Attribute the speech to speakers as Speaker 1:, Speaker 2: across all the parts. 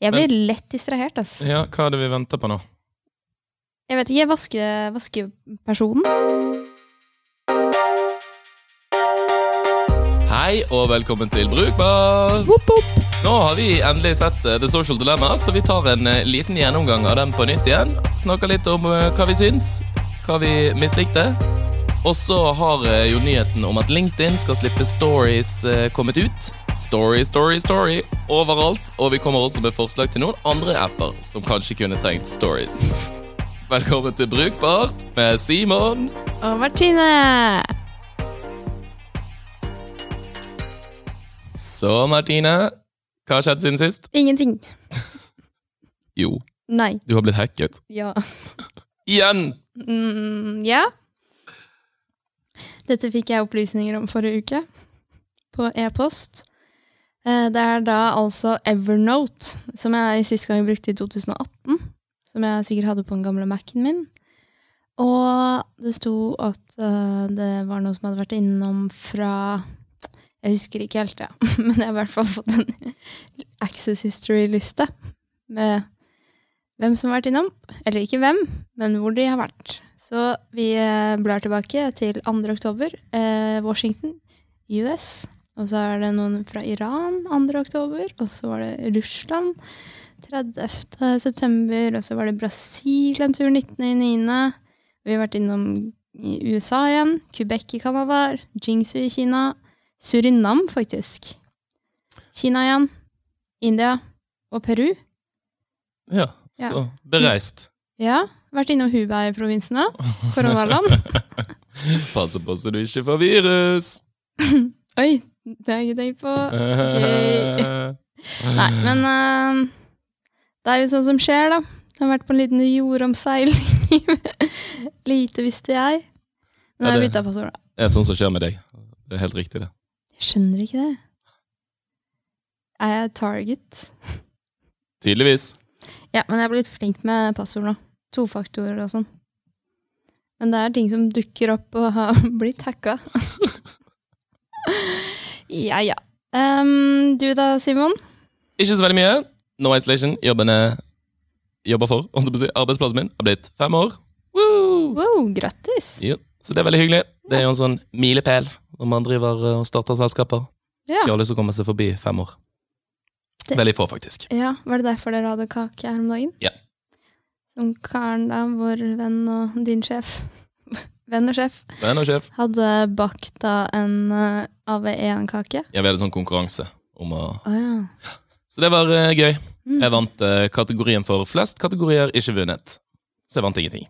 Speaker 1: Jeg blir lett distrahert, altså.
Speaker 2: Ja, hva er det vi venter på nå?
Speaker 1: Jeg vet ikke, vaske, vaskepersonen.
Speaker 2: Hei og velkommen til Brukbar!
Speaker 1: Woop, woop.
Speaker 2: Nå har vi endelig sett eh, The Social Dilemma, så vi tar en eh, liten gjennomgang av den på nytt igjen. Snakker litt om eh, hva vi syns, hva vi mislikte. Og så har eh, jo nyheten om at LinkedIn skal slippe stories eh, kommet ut. Story, story, story overalt. Og vi kommer også med forslag til noen andre apper som kanskje kunne trengt stories. Velkommen til Brukbart med Simon.
Speaker 1: Og Martine!
Speaker 2: Så, Martine, hva har skjedd siden sist?
Speaker 1: Ingenting.
Speaker 2: Jo,
Speaker 1: Nei.
Speaker 2: du har blitt hacket.
Speaker 1: Ja.
Speaker 2: Igjen!
Speaker 1: Mm, ja. Dette fikk jeg opplysninger om forrige uke på e-post. Eh, Det er da altså Evernote, som jeg sist gang brukte i 2018. Som jeg sikkert hadde på den gamle Mac-en min. Og det sto at eh, det var noe som hadde vært innom fra Jeg husker ikke helt, ja. men jeg har i hvert fall fått en Access History-liste med hvem som har vært innom. Eller ikke hvem, men hvor de har vært. Så vi eh, blar tilbake til 2. oktober, eh, Washington, US. Og så er det noen fra Iran 2. oktober, og så var det Russland 30. september, og så var det Brasil en tur 19.9. Vi har vært innom i USA igjen, Quebec i Canada, Jingsu i Kina, Surinam faktisk, Kina igjen, India og Peru.
Speaker 2: Ja, så
Speaker 1: Ja.
Speaker 2: bereist.
Speaker 1: Ja, vært innom Hubei-provinsen da, koronaland.
Speaker 2: Passe på så du ikke får virus!
Speaker 1: Oi, det har jeg ikke tenkt på. Gøy. Nei, men eh, det er jo sånn som skjer, da. Jeg har vært på en liten jordomseiling. Lite visste jeg. Men
Speaker 2: Ja,
Speaker 1: jeg har
Speaker 2: det-
Speaker 1: bytta passord, da.
Speaker 2: Det er sånn som skjer med deg. Det er helt riktig, det.
Speaker 1: Jeg skjønner ikke det. Er jeg target?
Speaker 2: Tydeligvis.
Speaker 1: Ja, men jeg er blitt flink med passord nå. Tofaktorer og sånn. Men det er ting som dukker opp og har blitt hacka. ja, ja. Ehm, du da, Simon?
Speaker 2: Ikke så veldig mye. No Isolation, jobben jeg jobber for, holdt jeg på å si, arbeidsplassen min, har blitt fem år. Woo!
Speaker 1: Wow, grattis!
Speaker 2: Ja, så det er veldig hyggelig. Det er jo en sånn milepæl når man driver eh, og starter selskaper.
Speaker 1: Ja.
Speaker 2: Ikke alle som kommer seg forbi fem år.
Speaker 1: Det-
Speaker 2: Veldig få, faktisk.
Speaker 1: Ja, Var det derfor dere hadde kake her om dagen?
Speaker 2: Ja.
Speaker 1: Som Karen, da, vår venn og din sjef Venn og sjef
Speaker 2: Men og sjef,
Speaker 1: hadde bakt da en eh, AV1-kake.
Speaker 2: jeg vil ha en sånn konkurranse om å
Speaker 1: Å ja.
Speaker 2: Så det var eh, gøy.
Speaker 1: Mm.
Speaker 2: Jeg vant eh, kategorien for flest kategorier, ikke vunnet. Så jeg vant ingenting.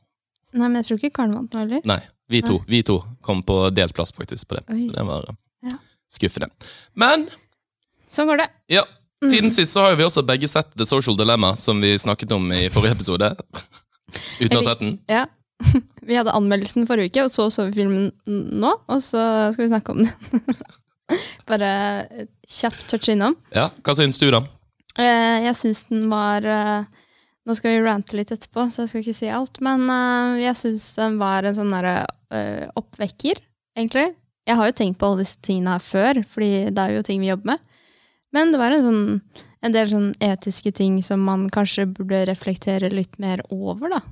Speaker 1: Nei, men jeg tror ikke Karen vant noe heller.
Speaker 2: Nei, vi to, vi to kom på delt plass faktisk på det.
Speaker 1: Oi.
Speaker 2: Så det var eh,
Speaker 1: Ja.
Speaker 2: skuffende. Men
Speaker 1: Sånn går det.
Speaker 2: ja, siden sist så har jo vi også begge sett The Social Dilemma, som vi snakket om i forrige episode. Uten å ha sett den.
Speaker 1: Ja. Vi hadde anmeldelsen forrige uke, og så så vi filmen n- nå, og så skal vi snakke om den. Bare et kjapt touch innom.
Speaker 2: Ja, Hva syns du, da?
Speaker 1: Eh, Jeg syns den var eh, Nå skal vi rante litt etterpå, så jeg skal ikke si alt, men eh, jeg syns den var en sånn derre eh, oppvekker, egentlig. Jeg har jo tenkt på alle disse tingene her før, fordi det er jo ting vi jobber med. Men det var en, sånn, en del sånn etiske ting som man kanskje burde reflektere litt mer over, da.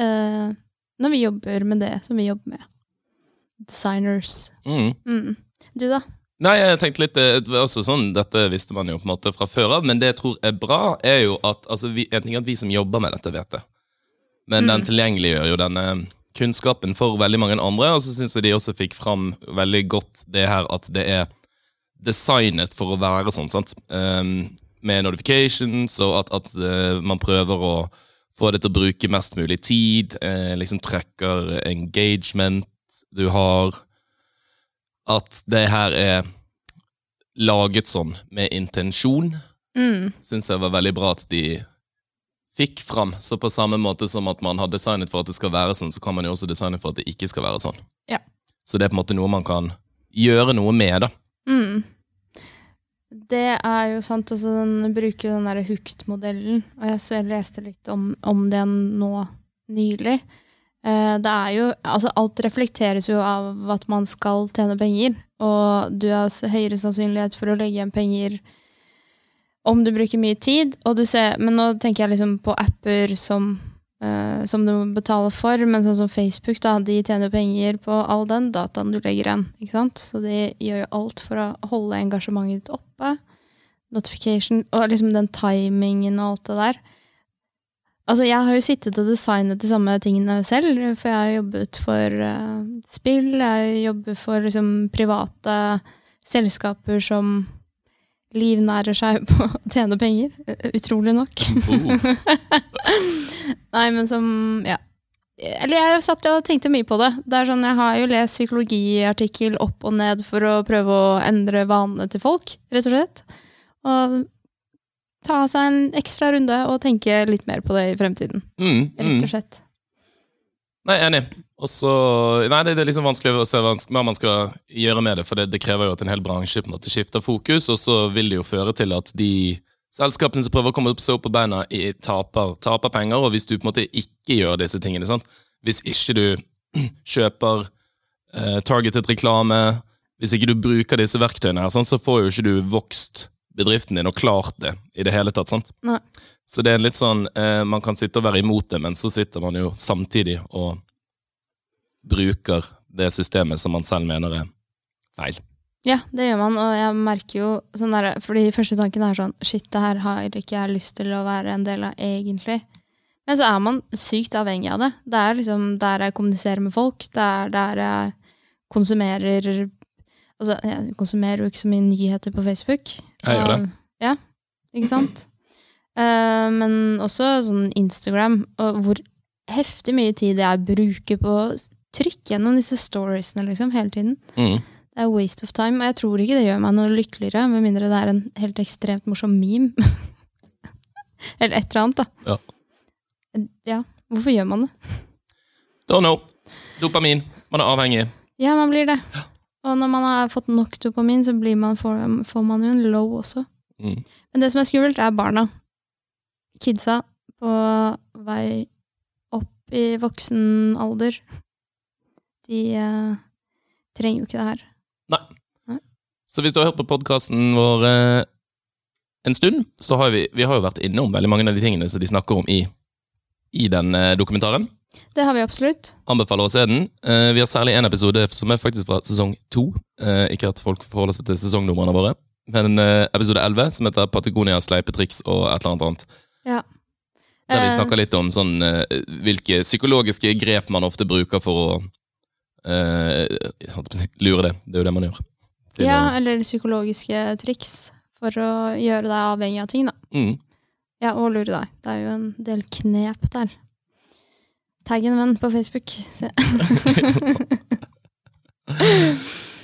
Speaker 1: Eh, når vi jobber med det som vi jobber med. Designers.
Speaker 2: Mm.
Speaker 1: Mm. Du, da?
Speaker 2: Nei, jeg tenkte litt eh, det var også sånn, Dette visste man jo på en måte fra før av, men det jeg tror er bra, er jo at altså, vi, jeg tenker at vi som jobber med dette, vet det. Men den tilgjengeliggjør jo denne kunnskapen for veldig mange andre. Og så syns jeg de også fikk fram veldig godt det her at det er designet for å være sånn, sant. Ehm, med notifications, og at, at eh, man prøver å få det til å bruke mest mulig tid. eh, liksom trekker engagement du har. At det her er laget sånn med intensjon
Speaker 1: Mm.
Speaker 2: syns jeg var veldig bra at de fikk fram. Så på samme måte som at man har designet for at det skal være sånn, så kan man jo også designe for at det ikke skal være sånn.
Speaker 1: Ja.
Speaker 2: Så det er på en måte noe man kan gjøre noe med, da.
Speaker 1: Mm. Det er jo sant. Også den bruker jo den derre Hooked-modellen. Og jeg, så jeg leste litt om, om den nå nylig. Eh, det er jo Altså, alt reflekteres jo av at man skal tjene penger. Og du har s- høyere sannsynlighet for å legge igjen penger om du bruker mye tid, og du ser Men nå tenker jeg liksom på apper som, eh, som du må betale for, men sånn som Facebook, da, de tjener penger på all den dataen du legger igjen. ikke sant? Så de gjør jo alt for å holde engasjementet ditt oppe. Notification og liksom den timingen og alt det der. Altså, jeg har jo sittet og designet de samme tingene selv, for jeg har jobbet for eh, spill, jeg jobber for liksom private selskaper som livnærer seg på å tjene penger. eh, Utrolig nok.
Speaker 2: Oh,
Speaker 1: Nei, men som Ja. Eller jeg satt og tenkte mye på det. Det er sånn, Jeg har jo lest psykologiartikkel opp og ned for å prøve å endre vanene til folk, rett og slett. Og ta seg en ekstra runde og tenke litt mer på det i fremtiden,
Speaker 2: mm, mm.
Speaker 1: rett og slett.
Speaker 2: Nei, enig. Og så, nei, det, det er liksom vanskelig å se vanske- hva man skal gjøre med det, for det, det krever jo at en hel bransje på en måte skifter fokus, og så vil det jo føre til at de selskapene som prøver å komme opp seg opp på beina, i, taper, taper penger, og hvis du på en måte ikke gjør disse tingene, sant? hvis ikke du kjøper eh, targetet reklame, hvis ikke du bruker disse verktøyene, her, sant? så får jo ikke du vokst bedriften din og klart det i det hele tatt. sant?
Speaker 1: Nei.
Speaker 2: Så det er litt sånn, eh, man kan sitte og være imot det, men så sitter man jo samtidig og bruker det systemet som man selv mener er feil.
Speaker 1: Ja, det gjør man, og jeg merker jo sånn der, Fordi første tanken er sånn Shit, det her har ikke jeg lyst til å være en del av egentlig. Men så er man sykt avhengig av det. Det er liksom der jeg kommuniserer med folk, det er der jeg konsumerer Altså, jeg konsumerer jo ikke så mye nyheter på Facebook.
Speaker 2: Jeg gjør det.
Speaker 1: Og- Ja, ikke sant? Eh, men også sånn Instagram, og hvor heftig mye tid jeg bruker på å trykke gjennom disse storiesene liksom, hele tiden.
Speaker 2: Mm.
Speaker 1: Det er waste of time, og jeg tror ikke det gjør meg noe lykkeligere, med mindre det er en helt ekstremt morsom meme. Eller et eller annet, da.
Speaker 2: Ja.
Speaker 1: Ja, hvorfor gjør man det?
Speaker 2: Don't know. Dopamin. Man er avhengig.
Speaker 1: Ja, man blir det. Og når man har fått nok dopamin, så blir man, får, får man jo en low også.
Speaker 2: Mm.
Speaker 1: Men det som er skummelt, er barna. Kidsa på vei opp i voksen alder. De eh, trenger jo ikke det her.
Speaker 2: Så hvis du har hørt på podkasten vår eh, en stund, så har vi, vi har jo vært innom veldig mange av de tingene som de snakker om i, i den eh, dokumentaren.
Speaker 1: Det har vi absolutt.
Speaker 2: Anbefaler å se den. Eh, vi har særlig én episode som er faktisk fra sesong to. Eh, ikke at folk forholder seg til sesongnumrene våre. Men eh, episode 11, som heter 'Patagonia sleipe triks' og et eller annet annet. Der vi
Speaker 1: Eh,
Speaker 2: snakker litt om sånn, eh, hvilke psykologiske grep man ofte bruker for å eh, jeg holdt på å si, lure det. Det er jo det man gjør. Til å-
Speaker 1: Ja, eller psykologiske triks for å gjøre deg avhengig av ting, da.
Speaker 2: mm.
Speaker 1: Ja, og lure deg. Det er jo en del knep der. Tagg en venn på Facebook. Se.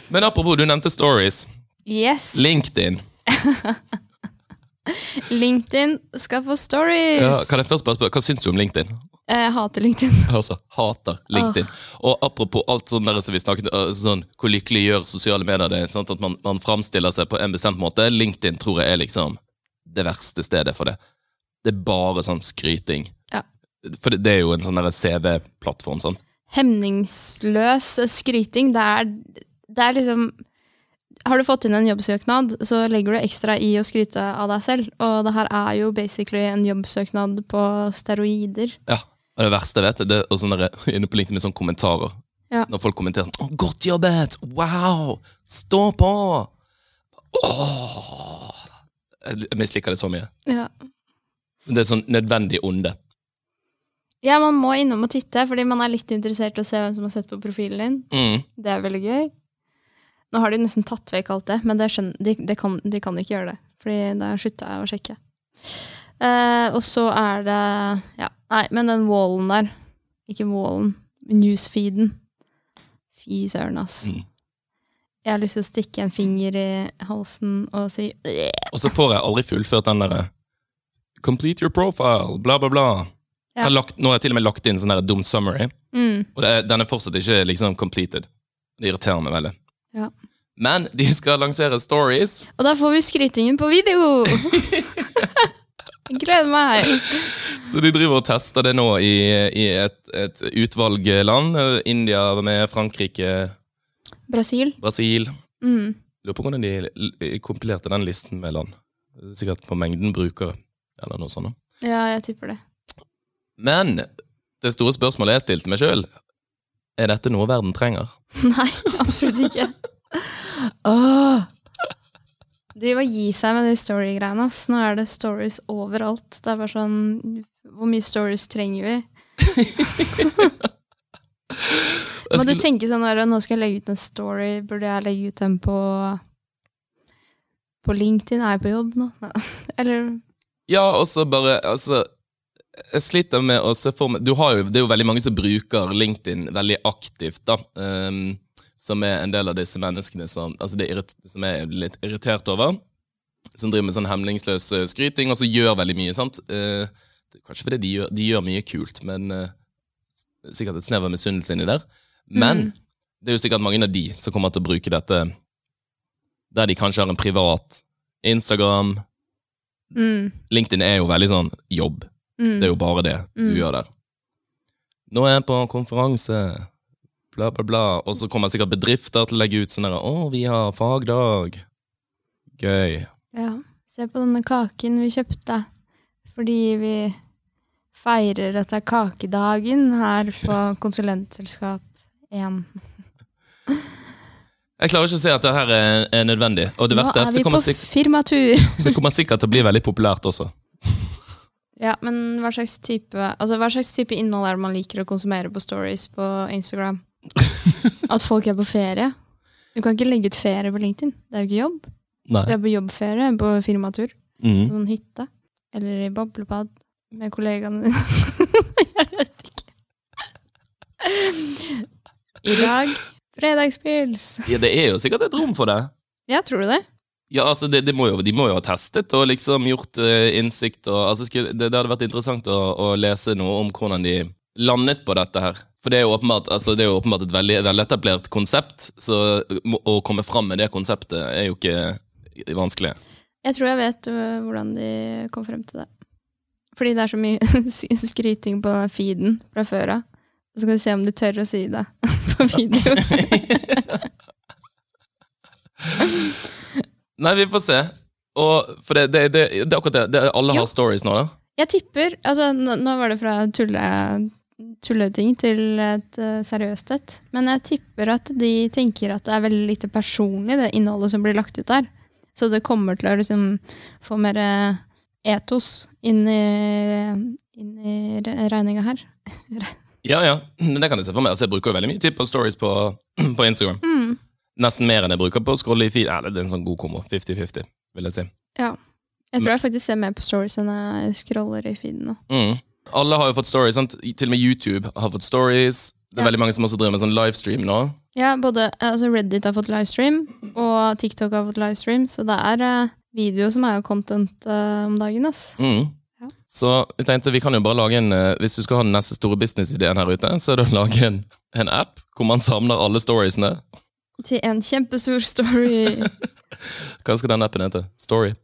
Speaker 2: Men apropos, du nevnte stories.
Speaker 1: Yes!
Speaker 2: LinkedIn.
Speaker 1: LinkedIn skal få stories!
Speaker 2: Ja, kan jeg først bare spørre, Hva syns du om LinkedIn?
Speaker 1: Eh, Jeg hater LinkedIn.
Speaker 2: Jeg også hater LinkedIn. Og apropos alt sånn der som vi snakket øh, sånn, hvor lykkelig gjør sosiale medier det? Sant? At man, man framstiller seg på en bestemt måte. LinkedIn tror jeg er liksom det verste stedet for det. Det er bare sånn skryting.
Speaker 1: Ja.
Speaker 2: For det, det er jo en sånn der CV-plattform, sant?
Speaker 1: Hemningsløs skryting. Det er, det er liksom Har du fått inn en jobbsøknad, så legger du ekstra i å skryte av deg selv. Og det her er jo basically en jobbsøknad på steroider.
Speaker 2: Ja. Og det verste jeg vet, det er også sånn der, inne på LinkedIn med sånne kommentarer.
Speaker 1: Ja.
Speaker 2: Når folk kommenterer sånn 'Å, godt jobbet! Wow! Stå på!' Åh! Jeg jeg misliker det så mye.
Speaker 1: Ja.
Speaker 2: Det er sånn nødvendig onde.
Speaker 1: Ja, man må innom og titte, fordi man er litt interessert i å se hvem som har sett på profilen din.
Speaker 2: Mm.
Speaker 1: Det er veldig gøy. Nå har de nesten tatt vekk alt det, men det skjønner, de, det kan, de kan ikke gjøre det. Fordi da slutta jeg å sjekke. Eh, og så er det Ja, nei, men den wallen der. Ikke wallen, newsfeeden. Fy søren, ass.
Speaker 2: Mm.
Speaker 1: Jeg har lyst til å stikke en finger i halsen og si
Speaker 2: Og så får jeg aldri fullført den derre 'Complete your profile', bla, bla, bla. Jeg har lagt, nå har jeg til og med lagt inn sånn der dum summary,
Speaker 1: mm,
Speaker 2: og det, er- den er fortsatt ikke liksom completed. Det irriterer meg veldig.
Speaker 1: Ja.
Speaker 2: Men de skal lansere stories.
Speaker 1: Og da får vi skrytingen på video! Jeg Gleder meg!
Speaker 2: Så de driver og tester det nå i, i et, et utvalg land. Eh, India var med, Frankrike,
Speaker 1: Brasil.
Speaker 2: Brasil.
Speaker 1: Mm.
Speaker 2: Lurer på hvordan de l- kompilerte den listen med land. Sikkert på mengden brukere, eller noe sånt.
Speaker 1: Ja, jeg tipper det.
Speaker 2: Men det store spørsmålet jeg stilte meg sjøl, er dette noe verden trenger?
Speaker 1: Nei, absolutt ikke.
Speaker 2: Ah!
Speaker 1: Åh. De bare gi seg med de story-greiene. ass. Nå er det stories overalt. Det er bare sånn Hvor mye stories trenger vi?
Speaker 2: Jeg
Speaker 1: Må du
Speaker 2: skulle-
Speaker 1: tenke sånn der, Nå skal jeg legge ut en story. Burde jeg legge ut den på På LinkedIn? Er jeg på jobb nå? Nei. Eller
Speaker 2: Ja, og så bare altså, Jeg sliter med å se for meg du har jo, Det er jo veldig mange som bruker LinkedIn veldig aktivt, da. ehm, som er en del av disse menneskene som, altså det er irrit, som jeg er litt irritert over. Som driver med sånn hemningsløs eh, skryting, og så gjør veldig mye. sant? Eh, det er kanskje fordi de gjør, de gjør mye kult, men eh, sikkert et snev av misunnelse inni der. Men
Speaker 1: Mm.
Speaker 2: det er jo sikkert mange av de som kommer til å bruke dette der de kanskje har en privat Instagram,
Speaker 1: mm,
Speaker 2: LinkedIn er jo veldig sånn jobb.
Speaker 1: mm.
Speaker 2: Det er jo bare det du
Speaker 1: Mm.
Speaker 2: gjør der. Nå er jeg på konferanse, bla, bla, bla. Og så kommer sikkert bedrifter til å legge ut sånn der Å, vi har fagdag. Gøy.
Speaker 1: Ja, se på denne kaken vi kjøpte. Fordi vi feirer at det er kakedagen her på konsulentselskap 1.
Speaker 2: Jeg klarer ikke å se at det her er, er nødvendig. Og det
Speaker 1: Nå
Speaker 2: verste er
Speaker 1: er
Speaker 2: at
Speaker 1: vi
Speaker 2: det
Speaker 1: på
Speaker 2: kommer, sikk-
Speaker 1: firmatur!
Speaker 2: det kommer sikkert til å bli veldig populært også.
Speaker 1: Ja, men hva slags type altså hva slags type innhold er det man liker å konsumere på stories på Instagram? At folk er på ferie? Du kan ikke legge ut ferie på LinkedIn. Det er jo ikke jobb.
Speaker 2: Nei.
Speaker 1: Du er på jobbferie, på firmatur, på
Speaker 2: Mm.
Speaker 1: noen hytte. Eller i boblebad med kollegaene dine. Jeg vet ikke. I dag fredagspils.
Speaker 2: Ja, det er jo sikkert et rom for det.
Speaker 1: Ja, tror du det?
Speaker 2: Ja, altså, det, det må jo, De må jo ha testet og liksom gjort eh, innsikt. Og, altså, skulle, det, det hadde vært interessant å, å lese noe om hvordan de landet på dette her. For det er jo åpenbart, altså, det er jo åpenbart et veldig veletablert konsept, så må- å komme fram med det konseptet er jo ikke vanskelig.
Speaker 1: Jeg tror jeg vet øh, hvordan de kom frem til det. Fordi det er så mye skryting på den feeden fra før av. Så skal vi se om de tør å si det på video.
Speaker 2: Nei, vi får se. Og, for det, det, det, det er akkurat det. det er- alle
Speaker 1: Jo.
Speaker 2: har stories nå, da.
Speaker 1: Jeg tipper altså, nå, nå var det fra tulle, tulleting til et eh, seriøst et. Men jeg tipper at de tenker at det er veldig lite personlig, det innholdet som blir lagt ut der. Så det kommer til å liksom, få mer eh, etos inn i, inn i re- regninga her.
Speaker 2: Ja, ja. Men det kan jeg se for meg. Altså, jeg bruker jo veldig mye tid på stories på, på Instagram.
Speaker 1: Mm.
Speaker 2: Nesten mer enn jeg bruker på å scrolle i feed. Eller, det er en sånn god kombo. 50-50, vil jeg si.
Speaker 1: Jeg tror jeg faktisk ser mer på stories enn jeg scroller i feeden nå.
Speaker 2: Mm. Alle har jo fått stories, sant? til og med YouTube har fått stories. Det er
Speaker 1: Ja.
Speaker 2: veldig mange som også driver med sånn livestream nå.
Speaker 1: Ja, både altså Reddit har fått livestream, og TikTok har fått livestream, så det er eh, video som er jo content eh, om dagen, ass.
Speaker 2: Mm.
Speaker 1: Ja.
Speaker 2: Så jeg tenkte vi kan jo bare lage en eh, Hvis du skal ha den neste store businessideen her ute, så er det å lage en, en app hvor man samler alle storiesene.
Speaker 1: til en kjempestor story.
Speaker 2: Hva skal den appen hete? Story.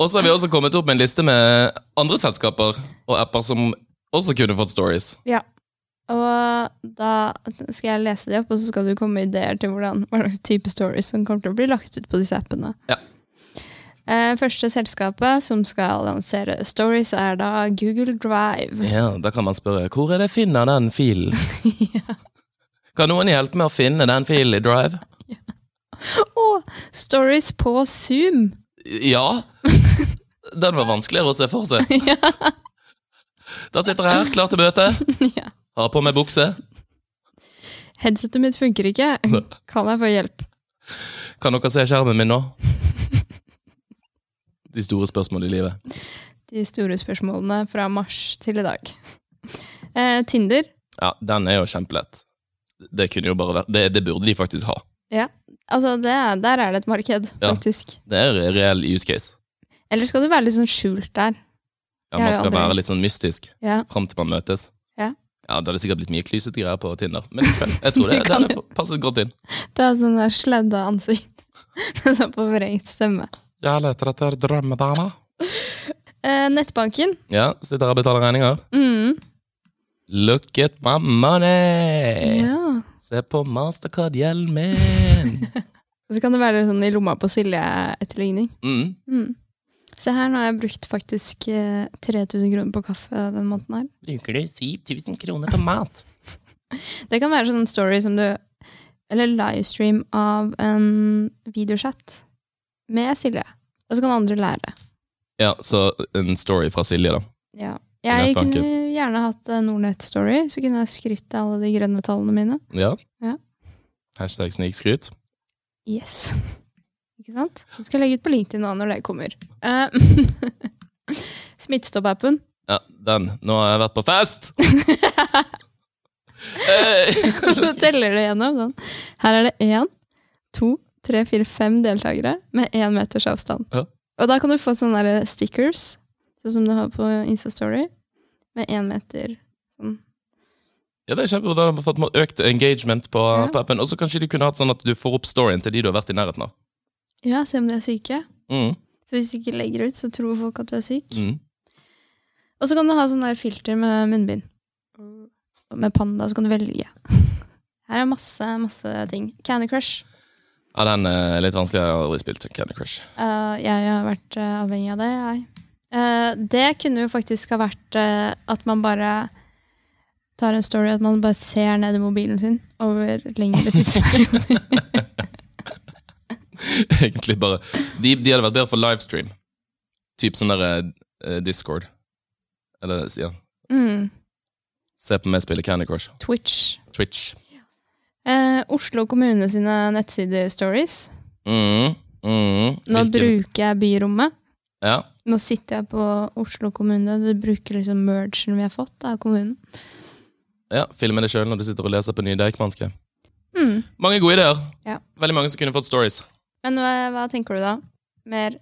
Speaker 2: og så har vi også kommet opp med en liste med andre selskaper og apper som også kunne fått stories.
Speaker 1: og da skal jeg lese de opp, og så skal du komme med ideer til hvordan, hva slags type stories som kommer til å bli lagt ut på disse appene.
Speaker 2: Ja.
Speaker 1: Eh, første selskapet som skal lansere stories, er da Google Drive.
Speaker 2: Ja, da kan man spørre hvor er det jeg finner den filen? Kan noen hjelpe med å finne den filen i Drive?
Speaker 1: Og stories på Zoom!
Speaker 2: Ja. Den var vanskeligere å se for seg.
Speaker 1: Ja.
Speaker 2: Da sitter jeg her, klar til bøte.
Speaker 1: Ja.
Speaker 2: Har på meg bukse.
Speaker 1: Headsetet mitt funker ikke. Kan jeg få hjelp?
Speaker 2: Kan dere se skjermen min nå? De store spørsmålene i livet.
Speaker 1: De store spørsmålene fra mars til i dag. Eh, Tinder.
Speaker 2: Ja, den er jo kjempelett. Det kunne jo bare vært Det, det burde de faktisk ha.
Speaker 1: Altså, det, der er det et marked,
Speaker 2: Ja.
Speaker 1: faktisk.
Speaker 2: Det er reell use case.
Speaker 1: Eller skal du være litt sånn skjult der?
Speaker 2: Ja, man
Speaker 1: Jeg har
Speaker 2: skal
Speaker 1: aldri-
Speaker 2: være litt sånn mystisk
Speaker 1: Ja.
Speaker 2: fram til man møtes.
Speaker 1: Ja.
Speaker 2: ja Det hadde sikkert blitt mye klysete greier på Tinder, men jeg tror det,
Speaker 1: Det kan
Speaker 2: den er passet godt inn.
Speaker 1: Det er sånn der sladda ansikt med sånn forvrengt stemme.
Speaker 2: Jeg leter etter drømmedama.
Speaker 1: Eh, nettbanken.
Speaker 2: Ja, sitter her og betaler regninger.
Speaker 1: Mm.
Speaker 2: Look at my money!
Speaker 1: Ja.
Speaker 2: Se på Mastercard-hjelmen!
Speaker 1: Og så kan det være sånn i lomma på Silje-etterligning.
Speaker 2: Mm.
Speaker 1: Mm. Se her, nå har jeg brukt faktisk eh, 3000 kroner på kaffe den måneden her.
Speaker 2: Bruker du 7000 kroner på mat?
Speaker 1: Det kan være sånn story som du Eller livestream av en videochat med Silje. Og så kan andre lære.
Speaker 2: Ja, så en story fra Silje, da.
Speaker 1: Ja.
Speaker 2: Det er
Speaker 1: Jeg
Speaker 2: tanken.
Speaker 1: kunne gjerne hatt eh, Nordnett-story, så kunne jeg skrytt av alle de grønne tallene mine.
Speaker 2: Ja.
Speaker 1: Ja.
Speaker 2: Hashtag snikskryt.
Speaker 1: Yes. Ikke sant? Jeg skal legge ut på LinkedIn nå når det kommer. Eh, Smittestopp-appen.
Speaker 2: Ja, den. Nå har jeg vært på fest! Eh,
Speaker 1: Så teller det gjennom. Sånn. Her er det én, to, tre, fire, fem deltakere med én meters avstand.
Speaker 2: Ja.
Speaker 1: Og da kan du få sånne der eh, stickers, sånn som du har på Instastory, med én meter.
Speaker 2: ja, det er kjempebra. Da har man fått økt engagement på,
Speaker 1: Ja.
Speaker 2: på appen. Og så kanskje de kunne hatt sånn at du får opp storyen til de du har vært i nærheten av.
Speaker 1: Ja, se om de er syke.
Speaker 2: Mm.
Speaker 1: Så hvis du ikke legger ut, så tror folk at du er syk.
Speaker 2: Mm.
Speaker 1: Og så kan du ha sånn der filter med munnbind. Og med panda, så kan du velge. Her er masse, masse ting. Candy Crush.
Speaker 2: Ja, den eh, er litt vanskelig. Jeg har aldri spilt Candy Crush.
Speaker 1: Eh, jeg har vært eh, avhengig av det, jeg. Eh, det kunne jo faktisk ha vært eh, at man bare tar en story, at man bare ser ned i mobilen sin over lengre tidsperioder.
Speaker 2: Egentlig bare De, de hadde vært bedre for livestream. Typ sånn der eh, Discord. Eller ja.
Speaker 1: mm,
Speaker 2: Se på meg spille Candy Crush.
Speaker 1: Twitch.
Speaker 2: Twitch.
Speaker 1: Eh, Oslo kommune sine nettsider-stories.
Speaker 2: Mm, mm,
Speaker 1: Nå
Speaker 2: hvilken-
Speaker 1: bruker jeg byrommet.
Speaker 2: ja.
Speaker 1: Nå sitter jeg på Oslo kommune. Du bruker liksom mergen vi har fått av kommunen.
Speaker 2: ja, filme det sjøl når du sitter og leser på Nye Deichmanske.
Speaker 1: Mm.
Speaker 2: Mange gode ideer.
Speaker 1: Ja.
Speaker 2: Veldig mange som kunne fått stories.
Speaker 1: Men hva, hva tenker du da? Mer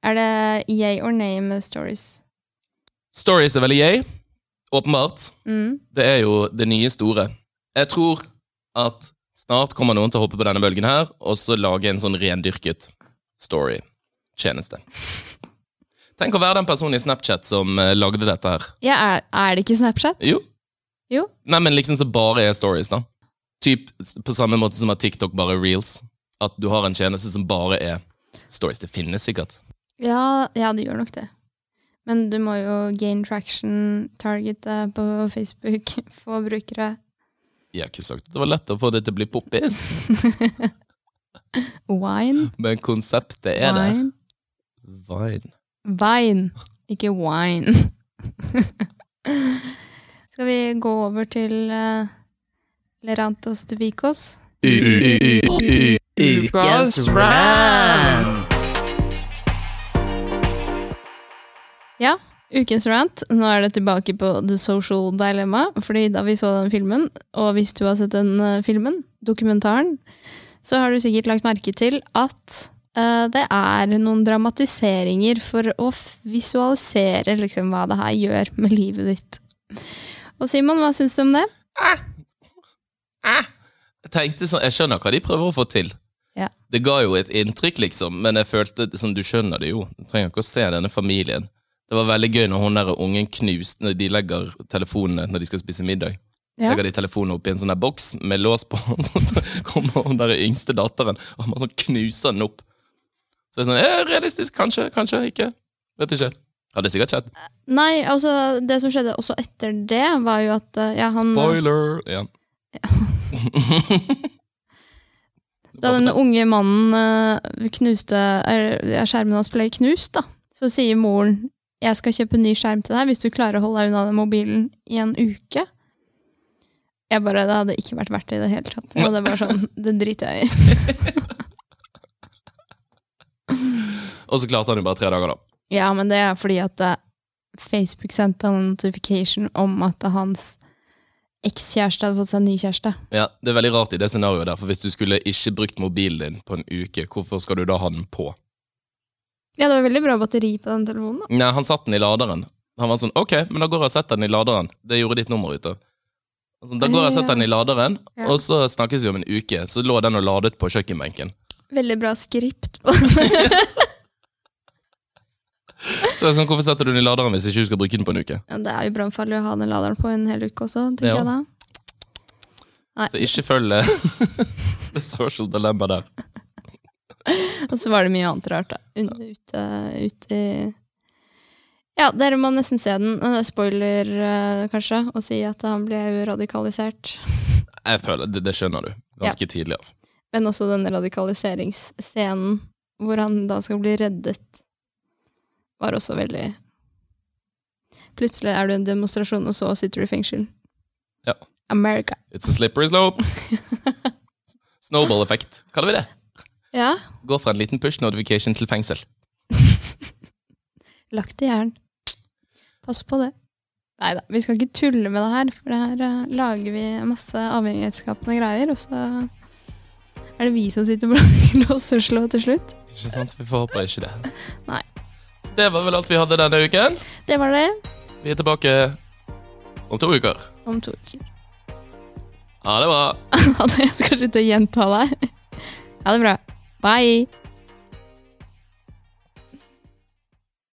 Speaker 1: Er det yay or nay med stories?
Speaker 2: Stories er veldig yay. Åpenbart.
Speaker 1: Mm.
Speaker 2: Det er jo det nye store. Jeg tror at snart kommer noen til å hoppe på denne bølgen her, og så lage en sånn rendyrket story-tjeneste. Tenk å være den personen i Snapchat som eh, lagde dette her.
Speaker 1: Ja, er, er det ikke Snapchat?
Speaker 2: Jo.
Speaker 1: Jo.
Speaker 2: Nei, men liksom så bare er stories, da. Typ s- på samme måte som at TikTok bare er reels. At du har en tjeneste som bare er stories. Det finnes sikkert.
Speaker 1: Ja, ja, det gjør nok det. Men du må jo gain traction, targete på Facebook, få brukere.
Speaker 2: Jeg har ikke sagt at det var lett å få det til å bli poppis,
Speaker 1: Wine.
Speaker 2: men konseptet er der.
Speaker 1: Wine.
Speaker 2: Vine.
Speaker 1: Vine, ikke wine. Skal vi gå over til eh, Lerantos de Vicos?
Speaker 3: Ukas rant.
Speaker 1: Ja, ukens rant. Nå er det tilbake på The Social Dilemma. Fordi da vi så den filmen, og hvis du har sett den eh, filmen, dokumentaren, så har du sikkert lagt merke til at eh, det er noen dramatiseringer for å f- visualisere liksom, hva det her gjør med livet ditt. Og Simon, hva syns du om det?
Speaker 2: Jeg tenkte sånn, jeg skjønner hva de prøver å få til.
Speaker 1: Ja.
Speaker 2: Det ga jo et inntrykk, liksom, men jeg følte sånn, du skjønner det jo. Du trenger ikke å se denne familien. Det var veldig gøy når hun der ungen knust, når de legger telefonene når de skal spise middag.
Speaker 1: Ja.
Speaker 2: Legger de telefonene oppi en sånn der boks med lås på, og så kommer hun der yngste datteren og man sånn knuser den opp. Så det er sånn, eh, realistisk, kanskje, kanskje, ikke. Vet ikke. Hadde sikkert skjedd.
Speaker 1: Nei, altså, det som skjedde også etter det, var jo at eh, ja, han,
Speaker 2: Spoiler! Ja.
Speaker 1: Da den unge mannen eh, knuste er, ja, Skjermen hans ble knust, da. Så sier moren jeg skal kjøpe en ny skjerm til deg hvis du klarer å holde deg unna den mobilen i en uke. Jeg bare, Det hadde ikke vært verdt det i det hele tatt. Jeg hadde bare sånn, Det driter jeg i.
Speaker 2: Og så klarte han jo bare tre dager, da.
Speaker 1: Ja, men det er fordi at eh, Facebook sendte han en notification om at hans ekskjæreste hadde fått seg en ny kjæreste.
Speaker 2: Ja, Det er veldig rart i det scenarioet der, for hvis du skulle ikke brukt mobilen din på en uke, hvorfor skal du da ha den på?
Speaker 1: Ja, det var veldig bra batteri på den telefonen. da.
Speaker 2: Nei, han satt den i laderen. Han var sånn OK, men da går jeg og setter den i laderen. Det gjorde ditt nummer ut av. Altså, da går jeg og setter den i laderen,
Speaker 1: Ja.
Speaker 2: og så snakkes vi om en uke. Så lå den og ladet på kjøkkenbenken.
Speaker 1: Veldig bra skript. på
Speaker 2: Så jeg er sånn, hvorfor setter du den i laderen hvis ikke du skal bruke den på en uke?
Speaker 1: Ja, det er jo brannfarlig å ha den laderen på en hel uke også, tenker
Speaker 2: Ja.
Speaker 1: jeg da. Nei.
Speaker 2: Så ikke følg eh, The Social Dilemma der.
Speaker 1: Og så var det mye annet rart, da. Un- Ute, ute i Ja, dere må nesten se den. Eh, Spoiler, eh, kanskje, og si at han ble jo radikalisert.
Speaker 2: Jeg føler, Det, det skjønner du ganske tidlig av.
Speaker 1: Men også den radikaliseringsscenen hvor han da skal bli reddet, var også veldig Plutselig er du i en demonstrasjon, og så sitter du i fengsel.
Speaker 2: Ja.
Speaker 1: America.
Speaker 2: It's a slippery slope. Snowball-effekt. Kaller vi det?
Speaker 1: Ja.
Speaker 2: Går fra en liten push notification til fengsel.
Speaker 1: Lagt i jern. Pass på det. Nei da, vi skal ikke tulle med det her, for det her eh, lager vi masse avhengighetsskapende greier, og så er det vi som sitter bak lås og slå til slutt.
Speaker 2: Ikke sant? Vi får håpe ikke det.
Speaker 1: Nei.
Speaker 2: Det var vel alt vi hadde denne uken.
Speaker 1: Det var det
Speaker 2: Vi er tilbake om to uker.
Speaker 1: om to uker.
Speaker 2: Ha det bra.
Speaker 1: Jeg skal slutte å gjenta deg. Ha det bra. Bye.